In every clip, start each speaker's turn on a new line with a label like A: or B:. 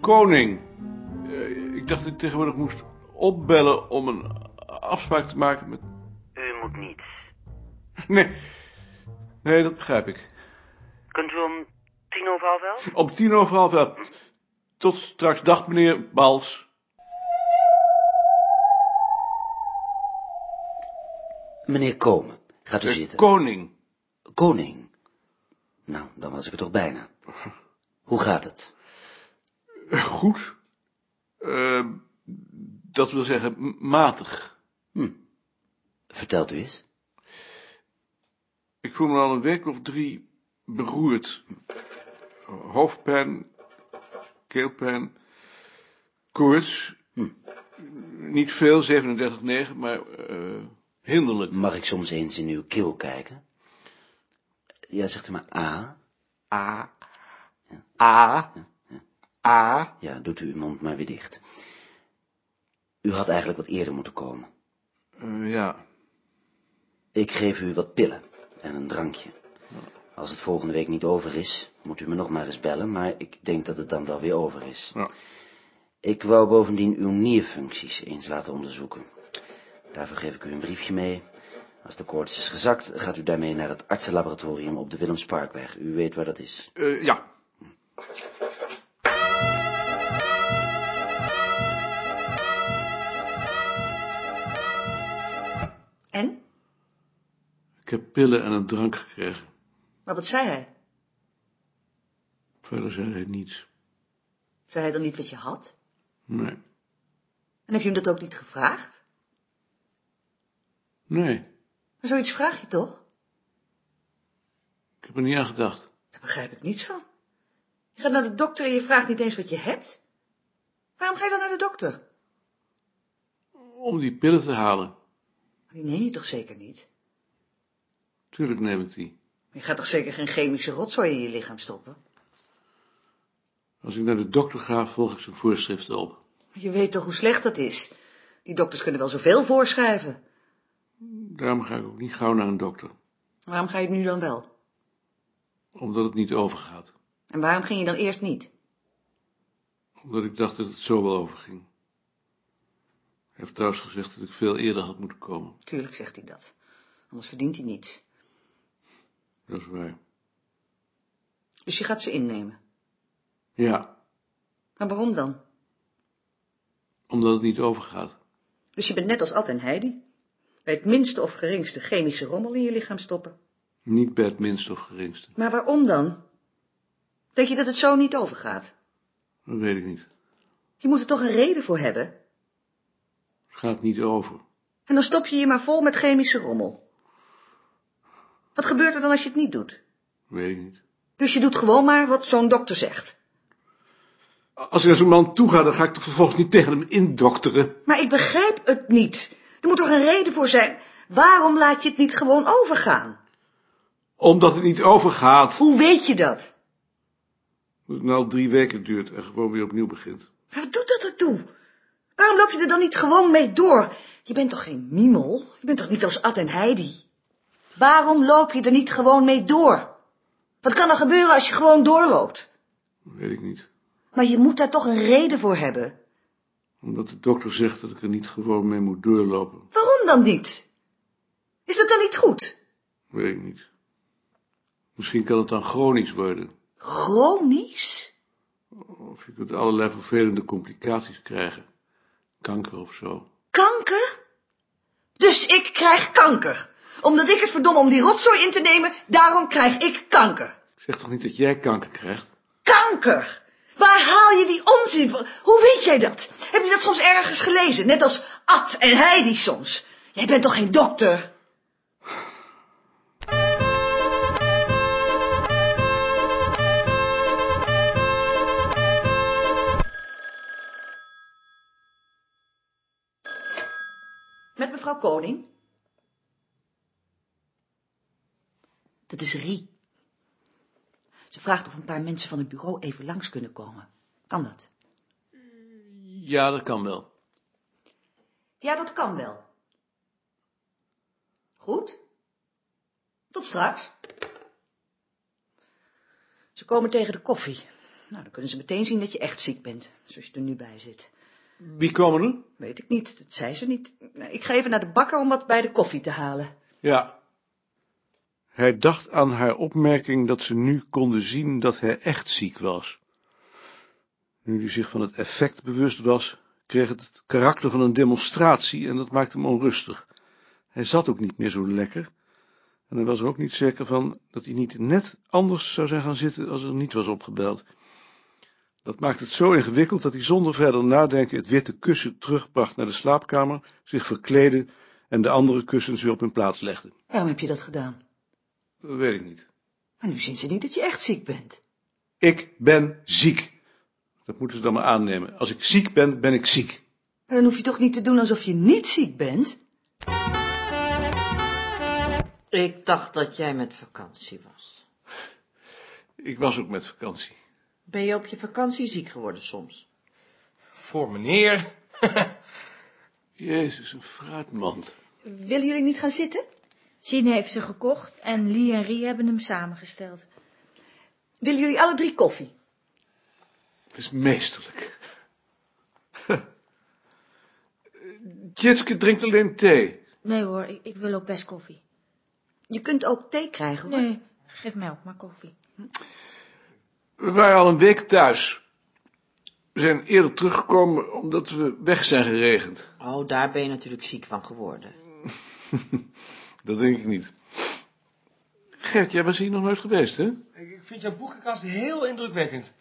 A: koning. Eh, ik dacht dat ik tegenwoordig moest opbellen om een afspraak te maken met...
B: U moet niets.
A: Nee, nee dat begrijp ik.
B: Kunt u om tien over half elf?
A: Om tien over half elf. Tot straks. Dag, meneer Bals.
C: Meneer Komen, gaat u
A: Eh,
C: zitten.
A: Koning.
C: Koning. Nou, dan was ik er toch bijna. Hoe gaat het?
A: Eh, Goed. Eh, dat wil zeggen m- matig.
C: Vertelt u eens.
A: Ik voel me al een week of drie beroerd. Hoofdpijn, keelpijn, koorts. Niet veel, 37,9, maar eh, hinderlijk.
C: Mag ik soms eens in uw keel kijken? Ja, zegt u maar A.
A: A. A. A.
C: Ja, doet u uw mond maar weer dicht. U had eigenlijk wat eerder moeten komen.
A: eh, ja.
C: Ik geef u wat pillen en een drankje. Als het volgende week niet over is, moet u me nog maar eens bellen, maar ik denk dat het dan wel weer over is.
A: ja.
C: Ik wou bovendien uw nierfuncties eens laten onderzoeken. Daarvoor geef ik u een briefje mee. Als de koorts is gezakt, gaat u daarmee naar het artsenlaboratorium op de Willemsparkweg. U weet waar dat is.
A: Eh, ja.
D: En?
A: Ik heb pillen en een drank gekregen.
D: Maar wat zei hij?
A: Verder zei hij niets.
D: Zei hij dan niet wat je had?
A: Nee.
D: En heb je hem dat ook niet gevraagd?
A: Nee.
D: Maar zoiets vraag je toch?
A: Ik heb er niet aan gedacht.
D: Daar begrijp ik niets van. Je gaat naar de dokter en je vraagt niet eens wat je hebt. Waarom ga je dan naar de dokter?
A: Om die pillen te halen.
D: Die neem je toch zeker niet?
A: Tuurlijk neem ik die.
D: Je gaat toch zeker geen chemische rotzooi in je lichaam stoppen?
A: Als ik naar de dokter ga, volg ik zijn voorschriften op.
D: Maar je weet toch hoe slecht dat is? Die dokters kunnen wel zoveel voorschrijven.
A: Daarom ga ik ook niet gauw naar een dokter.
D: Waarom ga je nu dan wel?
A: Omdat het niet overgaat.
D: En waarom ging je dan eerst niet?
A: Omdat ik dacht dat het zo wel overging. Hij heeft trouwens gezegd dat ik veel eerder had moeten komen.
D: Tuurlijk zegt hij dat. Anders verdient hij niets.
A: Dat is waar.
D: Dus je gaat ze innemen.
A: Ja,
D: Maar waarom dan?
A: omdat het niet overgaat.
D: Dus je bent net als Ad en Heidi. Bij het minste of geringste chemische rommel in je lichaam stoppen.
A: Niet bij het minste of geringste.
D: Maar waarom dan? Denk je dat het zo niet overgaat?
A: Dat weet ik niet.
D: Je moet er toch een reden voor hebben?
A: Het gaat niet over.
D: En dan stop je je maar vol met chemische rommel. Wat gebeurt er dan als je het niet doet?
A: Weet ik niet.
D: Dus je doet gewoon maar wat zo'n dokter zegt.
A: Als ik naar zo'n man toe ga, dan ga ik toch vervolgens niet tegen hem indokteren.
D: Maar ik begrijp het niet. Er moet toch een reden voor zijn? Waarom laat je het niet gewoon overgaan?
A: Omdat het niet overgaat.
D: Hoe weet je dat?
A: Dat het nou drie weken duurt en gewoon weer opnieuw begint.
D: Maar wat doet dat ertoe? Waarom loop je er dan niet gewoon mee door? Je bent toch geen mimel? Je bent toch niet als Ad en Heidi? Waarom loop je er niet gewoon mee door? Wat kan er gebeuren als je gewoon doorloopt?
A: Weet ik niet.
D: Maar je moet daar toch een reden voor hebben.
A: Omdat de dokter zegt dat ik er niet gewoon mee moet doorlopen.
D: Waarom dan niet? Is dat dan niet goed?
A: Weet ik niet. Misschien kan het dan chronisch worden.
D: Chronisch?
A: Of je kunt allerlei vervelende complicaties krijgen. Kanker of zo.
D: Kanker? Dus ik krijg kanker. Omdat ik het verdom om die rotzooi in te nemen, daarom krijg ik kanker.
A: Ik zeg toch niet dat jij kanker krijgt?
D: Kanker! Waar haal je die onzin van? Hoe weet jij dat? Heb je dat soms ergens gelezen? Net als Ad en Heidi soms. Jij bent toch geen dokter? Met mevrouw Koning? Dat is Rie. Ze vraagt of een paar mensen van het bureau even langs kunnen komen. Kan dat?
A: Ja, dat kan wel.
D: Ja, dat kan wel. Goed. Tot straks. Ze komen tegen de koffie. Nou, dan kunnen ze meteen zien dat je echt ziek bent, zoals je er nu bij zit.
A: Wie komen er?
D: Weet ik niet, dat zei ze niet. Nou, Ik ga even naar de bakker om wat bij de koffie te halen.
A: Ja. Hij dacht aan haar opmerking dat ze nu konden zien dat hij echt ziek was. Nu hij zich van het effect bewust was, kreeg het het karakter van een demonstratie en dat maakte hem onrustig. Hij zat ook niet meer zo lekker en hij was er ook niet zeker van dat hij niet net anders zou zijn gaan zitten als er niet was opgebeld. Dat maakte het zo ingewikkeld dat hij zonder verder nadenken het witte kussen terugbracht naar de slaapkamer, zich verkleedde en de andere kussens weer op hun plaats legde.
D: Waarom heb je dat gedaan?
A: Dat weet ik niet.
D: Maar nu zien ze niet dat je echt ziek bent.
A: Ik ben ziek. Dat moeten ze dan maar aannemen. Als ik ziek ben, ben ik ziek.
D: En dan hoef je toch niet te doen alsof je niet ziek bent?
E: Ik dacht dat jij met vakantie was.
A: Ik was ook met vakantie.
E: Ben je op je vakantie ziek geworden soms?
F: Voor meneer.
A: Jezus, een fruitmand.
D: Willen jullie niet gaan zitten?
G: Sine heeft ze gekocht en Lee en Rie hebben hem samengesteld.
D: Willen jullie alle drie koffie?
A: Het is meesterlijk. Jitske drinkt alleen thee.
G: Nee hoor, ik, ik wil ook best koffie.
D: Je kunt ook thee krijgen, hoor.
G: Nee, geef mij ook maar koffie.
A: We waren al een week thuis. We zijn eerder teruggekomen omdat we weg zijn geregend.
E: Oh, daar ben je natuurlijk ziek van geworden.
A: Dat denk ik niet. Gert, jij was hier nog nooit geweest, hè?
F: Ik ik vind jouw boekenkast heel indrukwekkend.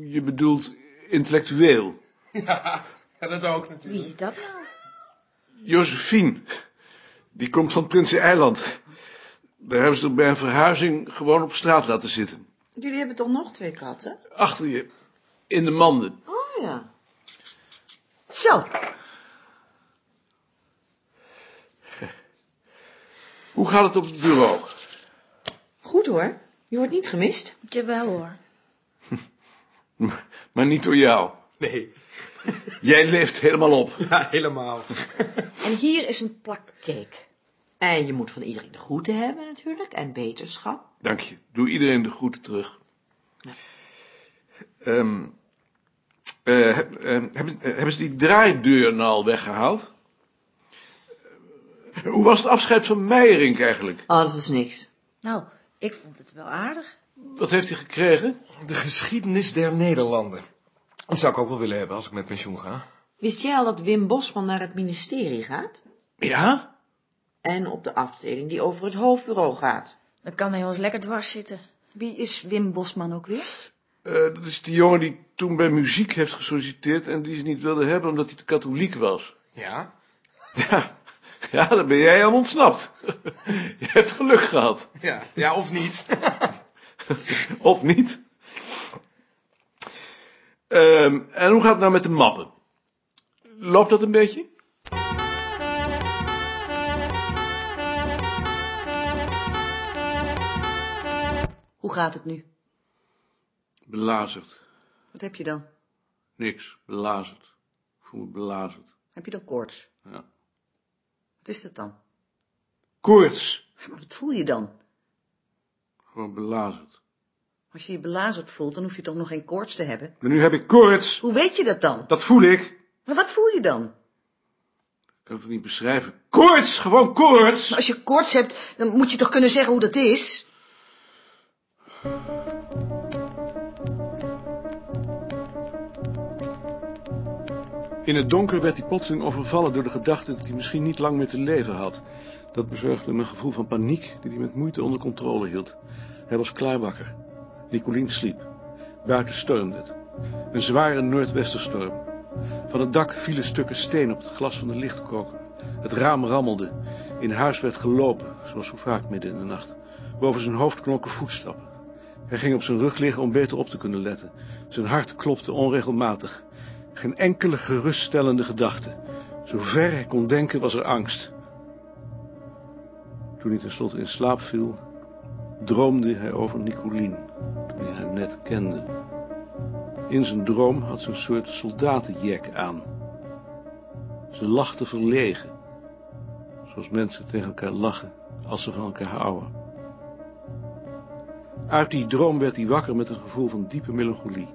A: Je bedoelt intellectueel.
F: Ja, dat ook natuurlijk.
G: Wie is dat nou?
A: Josephine. Die komt van Prinsen Eiland. Daar hebben ze er bij een verhuizing gewoon op straat laten zitten.
E: Jullie hebben toch nog twee katten?
A: Achter je. In de manden.
E: Oh ja.
D: Zo,
A: Hoe gaat het op het bureau?
E: Goed hoor. Je wordt niet gemist.
G: Jawel hoor.
A: Maar niet door jou.
F: Nee,
A: Jij leeft helemaal op.
F: ja, helemaal.
D: en hier is een plak cake.
E: En je moet van iedereen de groeten hebben natuurlijk. En beterschap.
A: Dank je. Doe iedereen de groeten terug. Ehm, eh, heb- ehm, hebben, eh, hebben ze die draaideur nou al weggehaald? Hoe was het afscheid van Meijerink eigenlijk?
E: Oh, dat was niks.
G: Nou, ik vond het wel aardig.
A: Wat heeft hij gekregen?
F: De geschiedenis der Nederlanden. Dat zou ik ook wel willen hebben als ik met pensioen ga.
E: Wist jij al dat Wim Bosman naar het ministerie gaat?
A: Ja?
E: En op de afdeling die over het hoofdbureau gaat.
G: Dan kan hij ons lekker dwars zitten.
D: Wie is Wim Bosman ook weer?
A: Eh, dat is die jongen die toen bij muziek heeft gesolliciteerd en die ze niet wilde hebben omdat hij te katholiek was.
F: Ja?
A: Ja, ja dan ben jij helemaal ontsnapt. Je hebt geluk gehad.
F: Ja, ja of niet.
A: Of niet? Ehm, en hoe gaat het nou met de mappen? Loopt dat een beetje?
D: Hoe gaat het nu?
A: Belazerd.
D: Wat heb je dan?
A: Niks. Belazerd. Ik voel me belazerd.
D: Heb je dan koorts?
A: Ja.
D: Wat is dat dan?
A: Koorts.
D: Maar wat voel je dan?
A: Gewoon belazerd.
D: Als je je belazerd voelt, dan hoef je toch nog geen koorts te hebben?
A: Maar nu heb ik koorts.
D: Hoe weet je dat dan?
A: Dat voel ik.
D: Maar wat voel je dan?
A: Ik kan het niet beschrijven. Koorts! Gewoon koorts!
D: Als je koorts hebt, dan moet je toch kunnen zeggen hoe dat is?
A: In het donker werd hij plotseling overvallen door de gedachte dat hij misschien niet lang meer te leven had. Dat bezorgde hem een gevoel van paniek die hij met moeite onder controle hield. Hij was klaarwakker. Nicolien sliep. Buiten stormde het. Een zware noordwesterstorm. Van het dak vielen stukken steen op het glas van de lichtkroker. Het raam rammelde. In huis werd gelopen, zoals zo vaak midden in de nacht. Boven zijn hoofd klonken voetstappen. Hij ging op zijn rug liggen om beter op te kunnen letten. Zijn hart klopte onregelmatig. Geen enkele geruststellende gedachte. Zover hij kon denken was er angst. Toen hij tenslotte in slaap viel, droomde hij over Nicolien, die hij net kende. In zijn droom had ze een soort soldatenjek aan. Ze lachte verlegen, zoals mensen tegen elkaar lachen als ze van elkaar houden. Uit die droom werd hij wakker met een gevoel van diepe melancholie.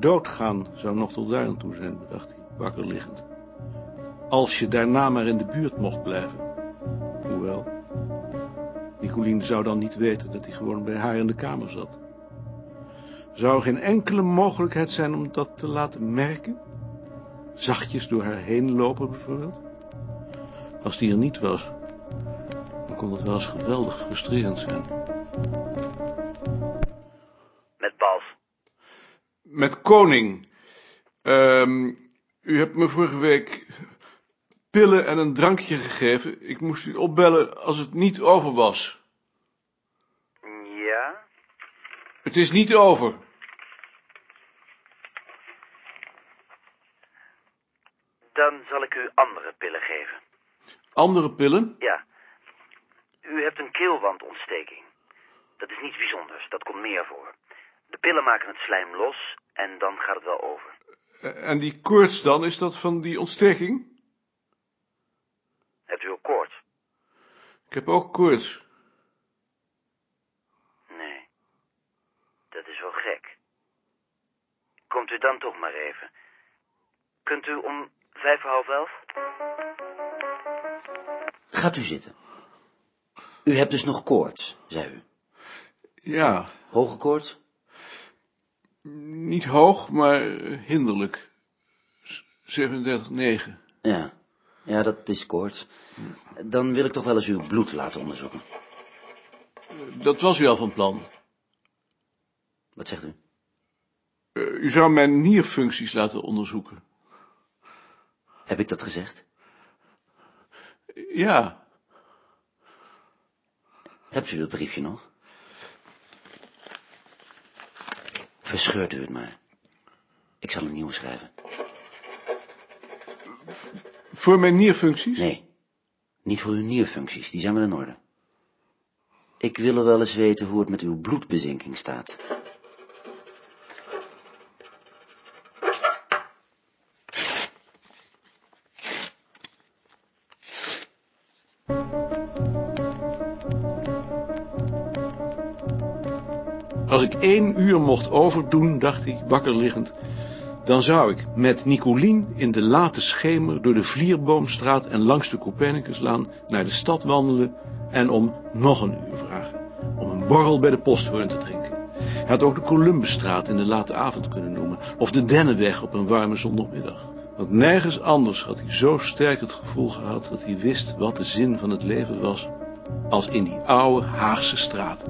A: Doodgaan zou nog tot daar aan toe zijn, dacht hij, wakker liggend. Als je daarna maar in de buurt mocht blijven. Hoewel, Nicoline zou dan niet weten dat hij gewoon bij haar in de kamer zat. Zou geen enkele mogelijkheid zijn om dat te laten merken? Zachtjes door haar heen lopen bijvoorbeeld? Als die er niet was, dan kon dat wel eens geweldig frustrerend zijn.
B: Met Bals.
A: Met koning. Ehm, u hebt me vorige week pillen en een drankje gegeven. Ik moest u opbellen als het niet over was.
B: Ja?
A: Het is niet over.
B: Dan zal ik u andere pillen geven.
A: Andere pillen?
B: Ja. U hebt een keelwandontsteking. Dat is niets bijzonders, dat komt meer voor. De pillen maken het slijm los en dan gaat het wel over.
A: Eh, En die koorts dan, is dat van die ontsteking?
B: Hebt u ook koorts?
A: Ik heb ook koorts.
B: Nee. Dat is wel gek. Komt u dan toch maar even. Kunt u om vijf voor half elf?
C: Gaat u zitten. U hebt dus nog koorts, zei u.
A: Ja,
C: Hoge koorts?
A: niet hoog, maar eh, hinderlijk. Z- 37,9.
C: Ja. Ja, dat is koorts. Dan wil ik toch wel eens uw bloed laten onderzoeken.
A: Dat was u al van plan.
C: Wat zegt u?
A: Eh, u zou mijn nierfuncties laten onderzoeken.
C: Heb ik dat gezegd?
A: Ja,
C: Hebt u dat briefje nog? Verscheurt u het maar. Ik zal een nieuwe schrijven.
A: voor mijn nierfuncties?
C: Nee, niet voor uw nierfuncties, die zijn wel in orde. Ik wil er wel eens weten hoe het met uw bloedbezinking staat.
A: Als ik één uur mocht overdoen, dacht hij, wakker liggend, dan zou ik met Nicolien in de late schemer door de Vlierboomstraat en langs de Copernicuslaan naar de stad wandelen en om nog een uur vragen. Om een borrel bij de posthoorn te drinken. Hij had ook de Columbusstraat in de late avond kunnen noemen, of de Dennenweg op een warme zondagmiddag. Want nergens anders had hij zo sterk het gevoel gehad dat hij wist wat de zin van het leven was, als in die oude Haagse straat.